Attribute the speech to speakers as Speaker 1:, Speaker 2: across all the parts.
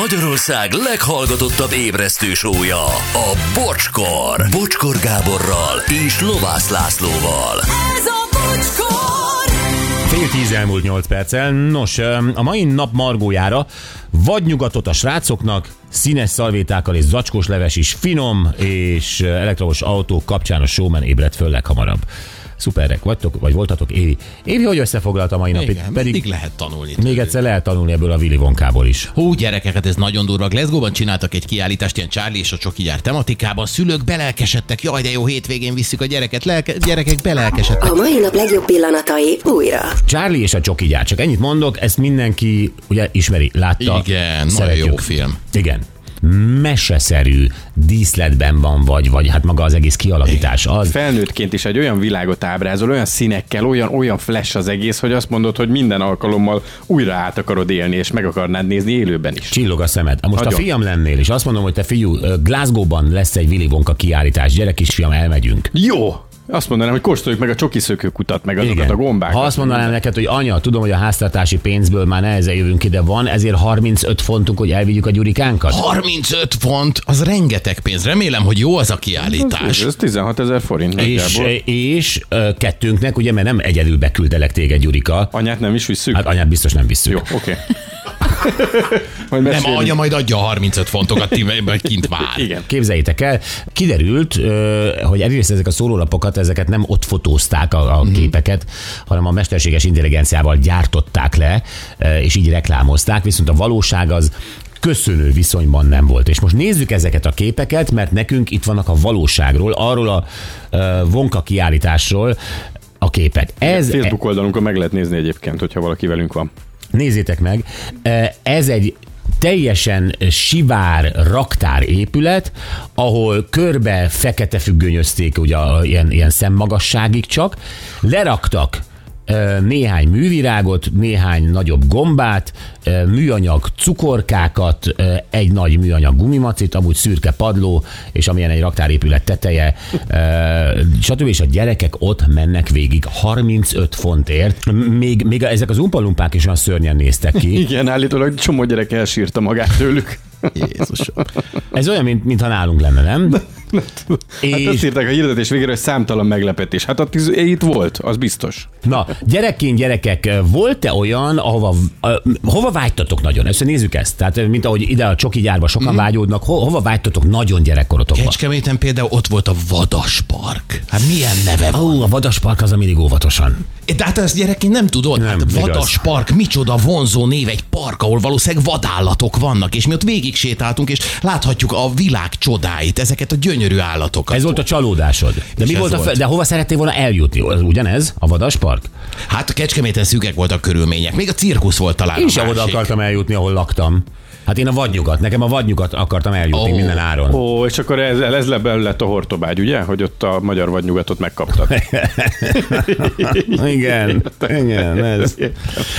Speaker 1: Magyarország leghallgatottabb ébresztő sója, a Bocskor. Bocskor Gáborral és Lovász Lászlóval.
Speaker 2: Ez a bocskor!
Speaker 3: Fél tíz elmúlt nyolc perccel. Nos, öm, a mai nap margójára vagy nyugatot a srácoknak, színes szalvétákkal és zacskós leves is finom, és ö, elektromos autók kapcsán a showman ébredt föl leghamarabb. Szuperek vagytok, vagy voltatok, Évi. Évi, hogy összefoglalta a mai napit?
Speaker 4: Igen, pedig mindig lehet tanulni.
Speaker 3: még egyszer lehet tanulni ebből a Willy Vonkából is.
Speaker 4: Hú, gyerekeket, ez nagyon durva. Glasgow-ban csináltak egy kiállítást, ilyen Charlie és a Csoki gyár tematikában. Szülők belelkesedtek, jaj, de jó hétvégén visszük a gyereket. Lelke- gyerekek belelkesedtek.
Speaker 5: A mai nap legjobb pillanatai újra.
Speaker 3: Charlie és a csoki gyár, csak ennyit mondok, ezt mindenki ugye ismeri, látta.
Speaker 4: Igen, nagyon
Speaker 3: szeretjük.
Speaker 4: jó film.
Speaker 3: Igen. Meseszerű, díszletben van vagy, vagy hát maga az egész kialakítás az.
Speaker 6: felnőttként is egy olyan világot ábrázol, olyan színekkel, olyan, olyan flash az egész, hogy azt mondod, hogy minden alkalommal újra át akarod élni, és meg akarnád nézni élőben is.
Speaker 3: Csillog a szemed. Ha most a
Speaker 6: Nagyon.
Speaker 3: fiam lennél, és azt mondom, hogy te fiú, ö, Glasgow-ban lesz egy Willy Wonka kiállítás, gyere kisfiam, elmegyünk.
Speaker 6: Jó! Azt mondanám, hogy kóstoljuk meg a csokiszökőkutat, meg azokat a gombákat.
Speaker 3: Ha azt mondanám neked, hogy anya, tudom, hogy a háztartási pénzből már nehezen jövünk ide, van ezért 35 fontunk, hogy elvigyük a gyurikánkat?
Speaker 4: 35 font, az rengeteg pénz. Remélem, hogy jó az a
Speaker 6: Ez,
Speaker 4: kiállítás.
Speaker 6: ez 16 ezer forint
Speaker 3: És,
Speaker 6: nagyjából.
Speaker 3: és ö, kettőnknek, ugye, mert nem egyedül beküldelek téged, Gyurika.
Speaker 6: Anyát nem is visszük?
Speaker 3: Hát anyát biztos nem visszük.
Speaker 6: Jó, oké. Majd
Speaker 4: Nem,
Speaker 6: mesélünk.
Speaker 4: anya majd adja a 35 fontokat, ti meg kint vár.
Speaker 6: Igen.
Speaker 3: Képzeljétek el, kiderült, ö, hogy egyrészt ezek a szórólapokat, ezeket nem ott fotózták a, a képeket, hanem a mesterséges intelligenciával gyártották le, ö, és így reklámozták, viszont a valóság az köszönő viszonyban nem volt. És most nézzük ezeket a képeket, mert nekünk itt vannak a valóságról, arról a ö, vonka kiállításról a képek. Ez,
Speaker 6: Facebook oldalunkon meg lehet nézni egyébként, hogyha valaki velünk van.
Speaker 3: Nézzétek meg, ez egy teljesen sivár raktár épület, ahol körbe fekete függönyözték, ugye a- ilyen, ilyen szemmagasságig csak, leraktak ö, néhány művirágot, néhány nagyobb gombát, ö, műanyag cukorkákat, ö, egy nagy műanyag gumimacit, amúgy szürke padló, és amilyen egy raktárépület teteje, ö, stb. És a gyerekek ott mennek végig 35 fontért. M- Még, még ezek az umpalumpák is olyan szörnyen néztek ki.
Speaker 6: Igen, állítólag csomó gyerek elsírta magát tőlük.
Speaker 4: Jézusom.
Speaker 3: Ez olyan, mint, mintha nálunk lenne, nem?
Speaker 6: Hát
Speaker 3: És-
Speaker 6: azt írták a hirdetés végére, hogy számtalan meglepetés. Hát ott iz- itt volt, az biztos.
Speaker 3: Na, gyerekként gyerekek, volt-e olyan, ahova, ö, hova vágytatok nagyon? Ezt nézzük ezt. Tehát, mint ahogy ide a csoki gyárba sokan mm. vágyódnak, ho, hova vágytatok nagyon gyerekkorotokban?
Speaker 4: Kecskeméten például ott volt a vadaspark. Hát milyen neve van?
Speaker 3: Ó, a vadaspark az a mindig óvatosan.
Speaker 4: De hát ezt gyerekként nem tudod.
Speaker 3: Nem,
Speaker 4: hát
Speaker 3: igaz.
Speaker 4: vadas park, micsoda vonzó név egy park, ahol valószínűleg vadállatok vannak, és mi ott végig sétáltunk, és láthatjuk a világ csodáit, ezeket a gyönyörű állatokat.
Speaker 3: Ez volt a csalódásod. De, mi
Speaker 4: ez
Speaker 3: volt a, fe-
Speaker 4: volt.
Speaker 3: de hova szerettél volna eljutni? Az Ugyanez? A vadaspark?
Speaker 4: Hát Kecskeméten szűkek voltak körülmények, még a cirkusz volt talán
Speaker 3: Én
Speaker 4: a
Speaker 3: sem oda
Speaker 4: másik.
Speaker 3: akartam eljutni, ahol laktam. Hát én a vadnyugat, nekem a vadnyugat akartam eljutni
Speaker 4: Ó.
Speaker 3: oh. minden áron. Oh.
Speaker 6: Ó, és akkor ez, ez le belőled a hortobágy, ugye? Hogy ott a magyar vadnyugatot megkaptak.
Speaker 3: Igen, igen, ez.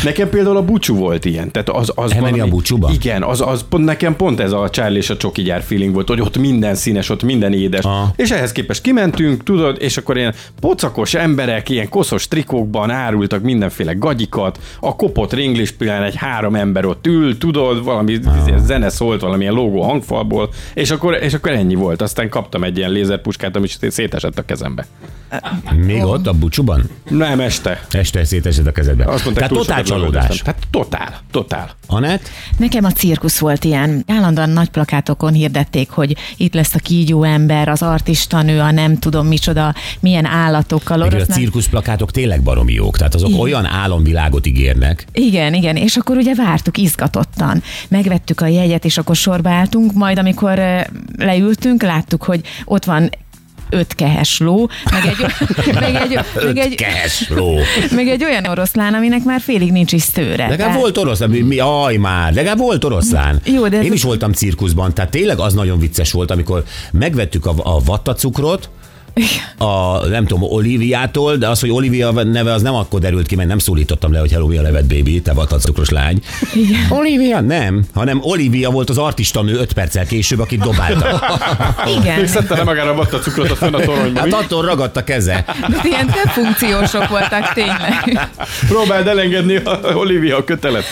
Speaker 6: Nekem például a bucsú volt ilyen. Tehát az, az
Speaker 3: Elmenni a Bucsúba?
Speaker 6: Igen, az, az pont, nekem pont ez a Charlie és a Csoki gyár feeling volt, hogy ott minden színes, ott minden édes.
Speaker 3: Aha.
Speaker 6: És ehhez képest kimentünk, tudod, és akkor ilyen pocakos emberek, ilyen koszos trikókban árultak mindenféle gagyikat, a kopott ringlis pillanat egy három ember ott ül, tudod, valami ah. zene szólt, valamilyen lógó hangfalból, és akkor, és akkor ennyi volt. Aztán kaptam egy ilyen lézerpuskát, ami szétesett a kezembe.
Speaker 3: Még ott a bucsúban?
Speaker 6: Nem este.
Speaker 3: Este szétesed a kezedbe.
Speaker 6: Azt mondták,
Speaker 3: Tehát
Speaker 6: túl
Speaker 3: totál
Speaker 6: sokat
Speaker 3: csalódás.
Speaker 6: lövöldöztem. Tehát totál, totál.
Speaker 3: Anett?
Speaker 7: Nekem a cirkusz volt ilyen. Állandóan nagy plakátokon hirdették, hogy itt lesz a kígyó ember, az artistanő, a nem tudom micsoda, milyen állatokkal.
Speaker 3: Meg a
Speaker 7: oroszlán-
Speaker 3: cirkuszplakátok tényleg baromi jók, tehát azok
Speaker 7: Igen.
Speaker 3: olyan álomvilágot ígérnek.
Speaker 7: Igen, igen, és akkor ugye vártuk izgatottan. Megvettük a jegyet, és akkor sorba álltunk, majd amikor ö, leültünk, láttuk, hogy ott van öt kehes ló, meg egy, meg egy, meg
Speaker 3: Öt
Speaker 7: egy,
Speaker 3: kehes ló.
Speaker 7: meg egy olyan oroszlán, aminek már félig nincs is szőre.
Speaker 3: Legalább
Speaker 7: Tehát-
Speaker 3: volt oroszlán, mi, mi, aj már, legalább volt oroszlán.
Speaker 7: Jó, de ez-
Speaker 3: Én is voltam cirkuszban, tehát tényleg az nagyon vicces volt, amikor megvettük a, a vattacukrot, a, nem tudom, Oliviától, de az, hogy Olivia neve az nem akkor derült ki, mert nem szólítottam le, hogy hello, mi a neved, baby, te vagy a cukros lány. Igen. Olivia? Nem, hanem Olivia volt az artistanő 5 perccel később, akit dobáltak.
Speaker 7: Igen.
Speaker 6: Még szedte le magára a batta cukrot a fönn a toronyban.
Speaker 3: Hát
Speaker 6: mi?
Speaker 3: attól ragadt a keze.
Speaker 7: De ilyen több funkciósok voltak tényleg.
Speaker 6: Próbáld elengedni a Olivia a kötelet.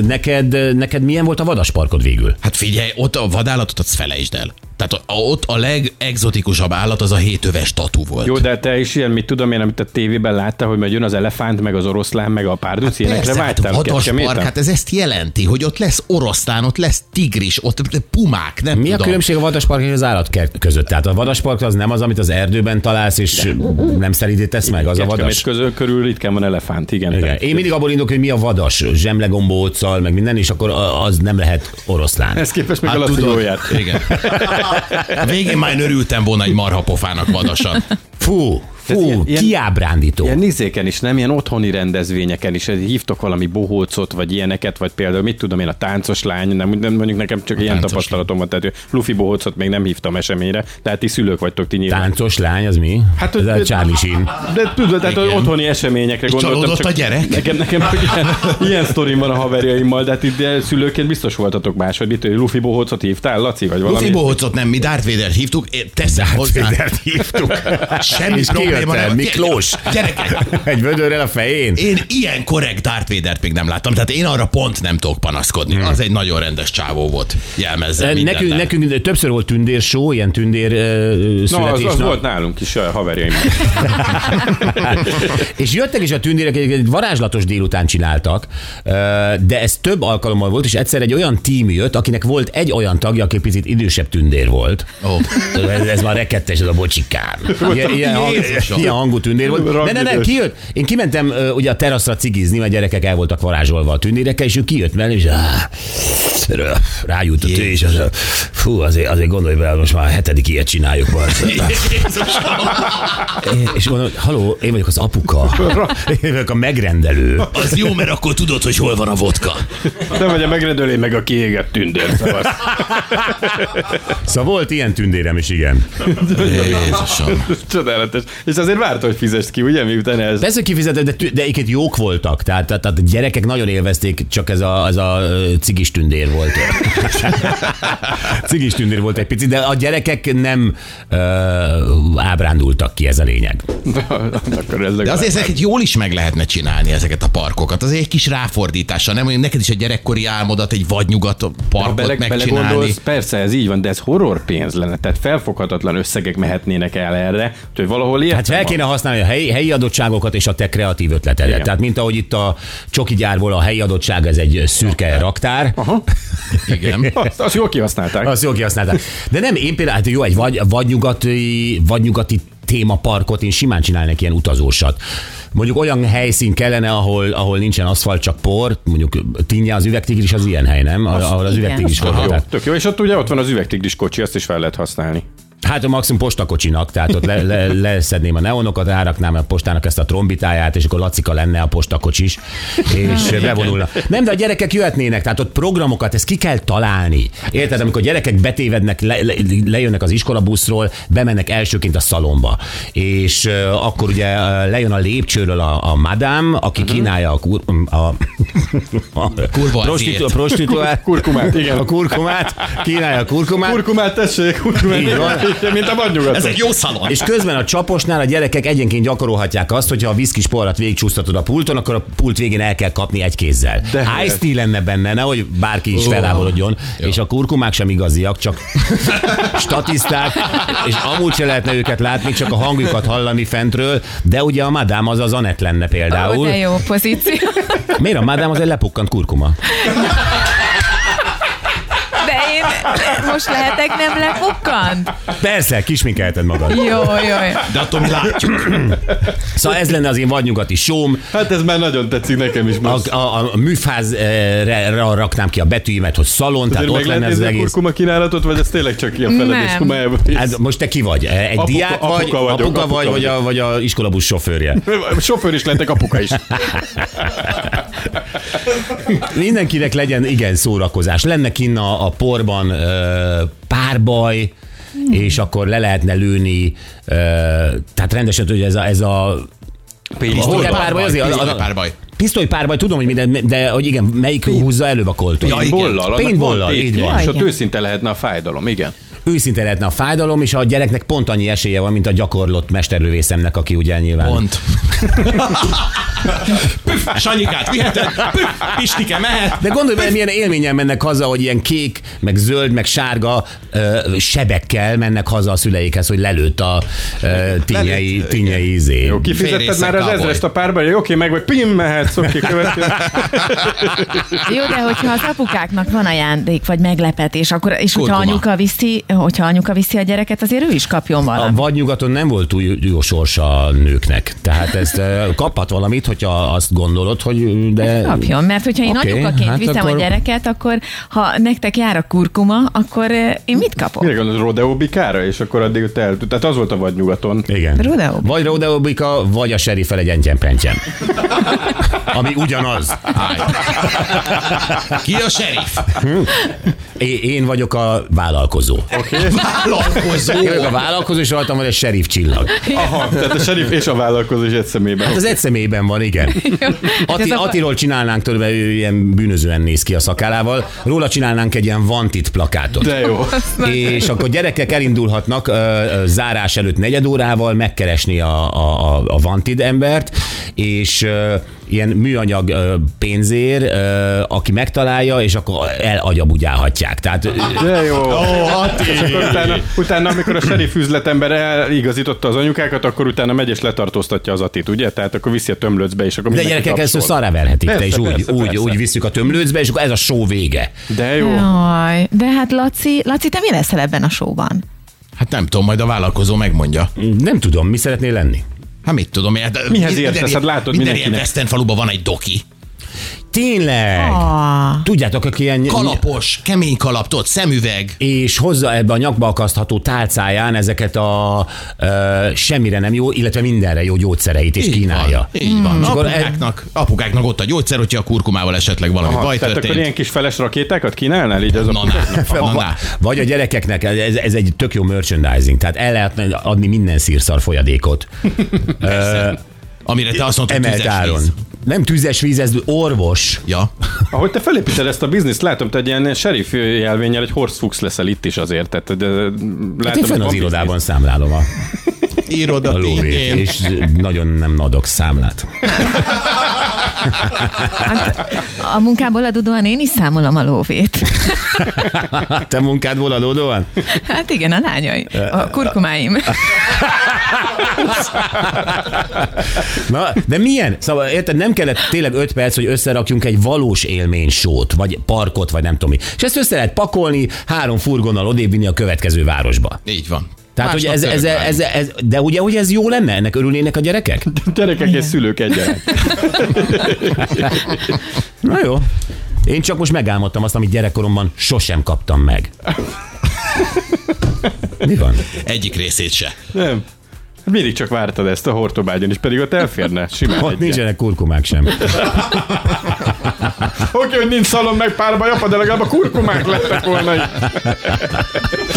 Speaker 3: Neked, neked milyen volt a vadasparkod végül?
Speaker 4: Hát figyelj, ott a vadállatot azt felejtsd el. Tehát a- a- ott a legexotikusabb állat az a hétöves tatú volt.
Speaker 6: Jó, de te is ilyen, mit tudom én, amit a tévében láttál, hogy majd jön az elefánt, meg az oroszlán, meg a párduc, ilyenekre
Speaker 4: Persze, hát
Speaker 6: vágytál.
Speaker 4: hatas
Speaker 6: kecskeméten?
Speaker 4: park, hát ez ezt jelenti, hogy ott lesz oroszlán, ott lesz tigris, ott pumák, nem
Speaker 3: Mi a
Speaker 4: tudom.
Speaker 3: különbség a vadaspark és az állatkert között? Tehát a vadaspark az nem az, amit az erdőben találsz, és nem szeridítesz meg, az a
Speaker 6: Kecskemét
Speaker 3: vadas.
Speaker 6: Közül, körül ritkán van elefánt, igen.
Speaker 3: Igen.
Speaker 6: Tehát-
Speaker 3: Én mindig abból indulok, hogy mi a vadas, zsemlegombóccal, meg minden, és akkor a- az nem lehet oroszlán.
Speaker 6: Ez képest még
Speaker 4: Hát
Speaker 6: hát, a
Speaker 4: tudod,
Speaker 6: lassújóját.
Speaker 4: Igen. A végén már én örültem volna egy marha pofának vadasan.
Speaker 3: Fú,
Speaker 6: Ez
Speaker 3: fú,
Speaker 6: ilyen- ilyen-
Speaker 3: kiábrándító.
Speaker 6: Ilyen nézéken is, nem ilyen otthoni rendezvényeken is, hívtok valami bohócot, vagy ilyeneket, vagy például, mit tudom én, a táncos lány, nem, nem mondjuk nekem csak ilyen
Speaker 4: táncos
Speaker 6: tapasztalatom van, tehát Luffy bohócot még nem hívtam eseményre, tehát ti szülők vagytok ti nyilván.
Speaker 3: Táncos lány, az mi?
Speaker 6: Hát,
Speaker 3: ez a
Speaker 6: hogy-
Speaker 3: Charlie Sheen.
Speaker 6: De tudod, tehát
Speaker 4: Igen.
Speaker 6: otthoni eseményekre
Speaker 4: És
Speaker 6: gondoltam.
Speaker 4: csalódott a gyerek?
Speaker 6: Nekem, nekem hogy ilyen, ilyen sztorim van a haverjaimmal, de hát itt de szülőként biztos voltatok más, hogy mit, hogy Luffy bohócot hívtál, Laci, vagy valami.
Speaker 4: Luffy bohócot nem, mi Darth Vader-t hívtuk, é, teszem hozzá.
Speaker 3: hívtuk.
Speaker 6: Hát,
Speaker 4: Semmi
Speaker 3: És
Speaker 4: probléma
Speaker 3: kijött
Speaker 4: nem.
Speaker 3: Miklós.
Speaker 4: Gyerekek,
Speaker 3: Egy vödörrel a fején.
Speaker 4: én ilyen korrekt Darth Vader-t még nem láttam, tehát én arra pont nem tudok panaszkodni. Az egy nagyon rendes csávó volt. Jelmezze
Speaker 3: Nekünk,
Speaker 4: mindennel.
Speaker 3: nekünk többször volt tündérsó, ilyen tündér ö,
Speaker 6: Na, az, az
Speaker 3: születésnap.
Speaker 6: volt nálunk is a haverjaimmal.
Speaker 3: És jöttek is a tündérek, egy- egy varázslatos délután csináltak, ö, de ez több alkalommal volt, és egyszer egy olyan tím jött, akinek volt egy olyan tagja, aki picit idősebb tündér volt.
Speaker 4: Ó.
Speaker 3: Ez, ez már rekettes, ez a bocsikám. Ilyen, ilyen, hang,
Speaker 4: Jézusom.
Speaker 3: ilyen hangú tündér volt.
Speaker 6: Rangidős.
Speaker 3: Ne, ne, ne, kijött. Én kimentem ö, ugye a teraszra cigizni, mert gyerekek el voltak varázsolva a tündérekkel, és ő kijött mellé, és áh, rö, rájutott ő, és az, a- fú, azért, azért gondolj bele, most már a hetedik ilyet csináljuk. Már. É, És mondom, hogy haló, én vagyok az apuka. Én vagyok a megrendelő.
Speaker 4: Az jó, mert akkor tudod, hogy hol van a vodka.
Speaker 6: Te vagy a megrendelő, én meg a kiégett tündér. Szóval.
Speaker 3: Szóval volt ilyen tündérem is, igen.
Speaker 4: Jézusom.
Speaker 6: Csodálatos. És azért várta, hogy fizest ki, ugye, miután ez
Speaker 3: Persze kifizetett, de, tü- de egyébként jók voltak. Tehát, tehát, tehát a gyerekek nagyon élvezték, csak ez a, az a ö, cigis tündér volt. cigis tündér volt egy picit, de a gyerekek nem ö, ábrándultak ki, ez a lényeg.
Speaker 6: Akkor ez
Speaker 4: De
Speaker 6: legalább.
Speaker 4: azért ezeket jól is meg lehetne csinálni, ezeket a parkokat. Azért egy kis ráfordítással, nem? Hogy neked is a gyerekkori álmodat egy vadnyugat
Speaker 6: ha
Speaker 4: parkot
Speaker 6: bele,
Speaker 4: megcsinálni.
Speaker 6: belegondolsz, persze ez így van, de ez horror pénz lenne, tehát felfoghatatlan összegek mehetnének el erre, hogy valahol ilyen.
Speaker 3: Hát fel kéne használni a helyi, helyi adottságokat és a te kreatív ötletedet. Igen.
Speaker 6: Igen.
Speaker 3: Tehát mint ahogy itt a csoki gyárból a helyi adottság, ez egy szürke raktár.
Speaker 6: Aha.
Speaker 4: Igen.
Speaker 6: Azt, azt jól kihasználták.
Speaker 3: Azt jól kihasználták. De nem, én például, hát jó, egy vagy, vadnyugati, vadnyugati témaparkot, én simán csinálnék ilyen utazósat. Mondjuk olyan helyszín kellene, ahol, ahol nincsen aszfalt, csak por, mondjuk tinja az üvegtigris, az ilyen hely, nem? A- Ahol az
Speaker 7: igen.
Speaker 3: üvegtigris
Speaker 7: Aha.
Speaker 6: Jó,
Speaker 3: korhatár.
Speaker 6: tök jó, és ott ugye ott van az üvegtigris kocsi, azt is fel lehet használni.
Speaker 3: Hát a maximum postakocsinak, tehát ott le, le, leszedném a neonokat, ráraknám a postának ezt a trombitáját, és akkor Lacika lenne a postakocsis, és bevonulna. Nem, de a gyerekek jöhetnének, tehát ott programokat, ezt ki kell találni. Érted, amikor gyerekek betévednek, le, le, lejönnek az iskolabuszról, bemennek elsőként a szalomba, és uh, akkor ugye uh, lejön a lépcsőről a, a madám, aki kínálja a, kur, a, a,
Speaker 4: Kurva
Speaker 3: a
Speaker 4: azért.
Speaker 3: prostitu- prostituált,
Speaker 6: Kurkumát, igen.
Speaker 3: a kurkumát, kínálja a kurkumát,
Speaker 6: Kurkumát tessék, kurkumát,
Speaker 3: Így van.
Speaker 6: mint a
Speaker 4: Ez
Speaker 6: vadnyugat.
Speaker 4: egy jó szalon.
Speaker 3: És közben a csaposnál a gyerekek egyenként gyakorolhatják azt, hogyha a viszkis poharat végigcsúsztatod a pulton, akkor a pult végén el kell kapni egy kézzel.
Speaker 6: De
Speaker 4: hát.
Speaker 3: Ice tea lenne benne, nehogy bárki is feláborodjon, és a kurkumák sem igaziak, csak statiszták, és amúgy se lehetne őket látni, csak a hangjukat hallani fentről, de ugye a madám az az Anett lenne
Speaker 7: Ó,
Speaker 3: például.
Speaker 7: de jó pozíció.
Speaker 3: Miért a madám az egy lepukkant kurkuma?
Speaker 7: De én most lehetek nem lepukkant?
Speaker 3: Persze, kisminkelted magad.
Speaker 7: Jó, jó, jó.
Speaker 4: De attól mi látjuk.
Speaker 3: Szóval ez lenne az én vadnyugati sóm,
Speaker 6: Hát ez már nagyon tetszik nekem is most.
Speaker 3: a, a, a műfázra raknám ki a betűimet, hogy szalon, tehát
Speaker 6: Azért
Speaker 3: ott
Speaker 6: meg
Speaker 3: lenne
Speaker 6: lehet
Speaker 3: ez az
Speaker 6: nézni a
Speaker 3: egész.
Speaker 6: kurkuma kínálatot, vagy ez tényleg csak ilyen feledés
Speaker 7: Nem.
Speaker 6: humájába?
Speaker 3: Hát most te ki vagy? Egy
Speaker 6: Apuka-
Speaker 3: diák
Speaker 6: apuka
Speaker 3: vagy,
Speaker 6: vagyok,
Speaker 3: apuka,
Speaker 6: apuka
Speaker 3: vagy, vagy
Speaker 6: vagyok.
Speaker 3: a, vagy a iskolabusz sofőrje?
Speaker 6: Sofőr is lettek, apuka is.
Speaker 3: Mindenkinek legyen igen szórakozás. Lenne kinn a, a porban ö, eh, párbaj, és akkor le lehetne lőni, ö, tehát rendesen, hogy ez a, ez a
Speaker 6: Pénztől
Speaker 3: Hol- párbaj, azért-
Speaker 4: Párbaj.
Speaker 3: pisztolypárbaj, tudom, hogy minden, de hogy igen, melyik húzza előbb a koltot.
Speaker 4: Ja, igen.
Speaker 6: Bollal,
Speaker 3: Paintballal, így van.
Speaker 6: És
Speaker 7: Ja,
Speaker 6: ott
Speaker 7: igen.
Speaker 6: őszinte lehetne a fájdalom, igen.
Speaker 3: Őszinte lehetne a fájdalom, és a gyereknek pont annyi esélye van, mint a gyakorlott mesterlövészemnek, aki ugye nyilván...
Speaker 4: Pont. Püff, Sanyikát viheted? Püff, Pistike mehet?
Speaker 3: De gondolj bele, milyen élményen mennek haza, hogy ilyen kék, meg zöld, meg sárga ö, sebekkel mennek haza a szüleikhez, hogy lelőtt a ö, tényei,
Speaker 4: Lelőtt,
Speaker 3: tényei izé.
Speaker 6: Jó, kifizetted
Speaker 4: Félrészen
Speaker 6: már az
Speaker 4: cowboy.
Speaker 6: ezrest a párbaj, jó, oké, meg vagy, pim, mehetsz, oké, következő.
Speaker 7: Jó, de hogyha az apukáknak van ajándék, vagy meglepetés, akkor, és hogyha
Speaker 4: Kurkuma.
Speaker 7: anyuka, viszi, hogyha anyuka viszi a gyereket, azért ő is kapjon
Speaker 3: A
Speaker 7: valamit.
Speaker 3: vadnyugaton nem volt túl jó sorsa a nőknek. Tehát ezt ö, kaphat valamit, hogyha azt gondolod, hogy de...
Speaker 7: Kapjon, mert hogyha én
Speaker 3: Oké,
Speaker 7: okay, anyukaként
Speaker 3: hát
Speaker 7: hát viszem
Speaker 3: akkor-
Speaker 7: a gyereket, akkor ha nektek jár a kurkuma, akkor eh, én mit
Speaker 6: Mire
Speaker 7: kapok?
Speaker 6: gondolod, Rodeo bikára, és akkor addig ott el... Tehát az volt a vadnyugaton.
Speaker 3: Igen.
Speaker 7: Rodeo.
Speaker 3: Vagy rodeobika, vagy a serifel egy entyenpentyen. Ami ugyanaz.
Speaker 4: Állj. Ki a serif?
Speaker 3: É- Én vagyok a vállalkozó.
Speaker 4: Vállalkozó.
Speaker 3: Én vagyok a vállalkozó, és rajtam van egy serif csillag.
Speaker 6: Aha, tehát a serif és a vállalkozó is egy szemében.
Speaker 3: Hát az egy személyben van, igen. Ati,
Speaker 7: Hát ez a-
Speaker 3: Atiról csinálnánk tőle, ő ilyen bűnözően néz ki a szakálával. Róla csinálnánk egy ilyen vantit plakátot.
Speaker 6: De jó.
Speaker 3: És akkor gyerekek elindulhatnak ö, ö, zárás előtt negyed órával megkeresni a, a, a, a Vantid embert, és ö, ilyen műanyag ö, pénzér, ö, aki megtalálja, és akkor elagyabudjálhatják. Tehát ö,
Speaker 6: De jó.
Speaker 4: Ati.
Speaker 6: hát, És akkor utána, utána, amikor a serif üzletember eligazította az anyukákat, akkor utána megy és letartóztatja az Atit, ugye? Tehát akkor viszi a tömlöcbe, és akkor
Speaker 3: de
Speaker 6: mindenki
Speaker 3: gyerekek ezt
Speaker 6: tapsol.
Speaker 3: szarra verhetik, te
Speaker 6: Persze,
Speaker 3: is úgy,
Speaker 6: persze,
Speaker 3: úgy,
Speaker 6: persze.
Speaker 3: úgy visszük a tömlőcbe, és akkor ez a show vége.
Speaker 6: De jó.
Speaker 7: Jaj, de hát Laci, Laci, te mi leszel ebben a showban?
Speaker 4: Hát nem tudom, majd a vállalkozó megmondja.
Speaker 3: Nem tudom, mi szeretnél lenni?
Speaker 4: Hát mit tudom, én, hát
Speaker 6: Mihez
Speaker 4: minden
Speaker 6: értesz?
Speaker 4: ilyen-
Speaker 6: Hát látod
Speaker 4: Minden ilyen
Speaker 6: mindenkinek.
Speaker 4: Western faluban van egy doki.
Speaker 3: Tényleg!
Speaker 7: Ah,
Speaker 3: Tudjátok, aki ilyen...
Speaker 4: Kalapos, kemény kalap, tudod, szemüveg.
Speaker 3: és hozza ebbe a nyakba akasztható tálcáján ezeket a ö, semmire nem jó, illetve mindenre jó gyógyszereit is
Speaker 4: Így
Speaker 3: kínálja.
Speaker 4: Van, így van.
Speaker 3: És akkor e-
Speaker 4: Apukáknak, apukáknak ott a gyógyszer, hogyha a kurkumával esetleg valami
Speaker 6: Aha,
Speaker 4: baj
Speaker 6: tehát
Speaker 4: történt.
Speaker 6: akkor ilyen kis feles rakétákat kínálnál így az
Speaker 4: Na, na, na, na.
Speaker 3: Vagy a gyerekeknek, ez, ez egy tök jó merchandising, tehát el lehet adni minden szírszar folyadékot.
Speaker 4: Persze. Amire te azt mondtad,
Speaker 3: Emelt
Speaker 4: tüzes
Speaker 3: áron.
Speaker 4: víz.
Speaker 3: Nem tüzes víz, ez orvos.
Speaker 4: Ja.
Speaker 6: Ahogy te felépíted ezt a bizniszt, látom, te egy ilyen serif jelvényel egy horsefox leszel itt is azért. Tehát, de, látom,
Speaker 3: Hát én
Speaker 6: hogy
Speaker 3: fönn
Speaker 6: van
Speaker 3: az irodában számlálom a,
Speaker 4: Írod
Speaker 3: a
Speaker 4: a
Speaker 3: lóvét,
Speaker 4: tényén.
Speaker 3: és nagyon nem adok számlát.
Speaker 7: hát a munkából adódóan én is számolom a lóvét.
Speaker 3: Te munkádból adódóan?
Speaker 7: Hát igen, a lányai, a kurkumáim.
Speaker 3: Na, de milyen? Szóval érted, nem kellett tényleg 5 perc, hogy összerakjunk egy valós élménysót, vagy parkot, vagy nem tudom mi. És ezt össze lehet pakolni, három furgonnal odébb vinni a következő városba.
Speaker 4: Így van.
Speaker 3: Tehát, hogy
Speaker 4: Másnap
Speaker 3: ez, ez,
Speaker 4: török
Speaker 3: ez, ez, de ugye, hogy ez jó lenne, ennek örülnének a gyerekek?
Speaker 6: Gyerekek és szülők egyaránt.
Speaker 3: Na jó. Én csak most megálmodtam azt, amit gyerekkoromban sosem kaptam meg. Mi van?
Speaker 4: vágunk. Egyik részét se.
Speaker 6: Nem. Hát Mindig csak vártad ezt a hortobágyon, és pedig ott elférne simán
Speaker 3: Ott
Speaker 6: egy ilyen.
Speaker 3: nincsenek kurkumák sem.
Speaker 6: Oké, hogy nincs szalom meg párbaj, apa, de legalább a kurkumák lettek volna. itt.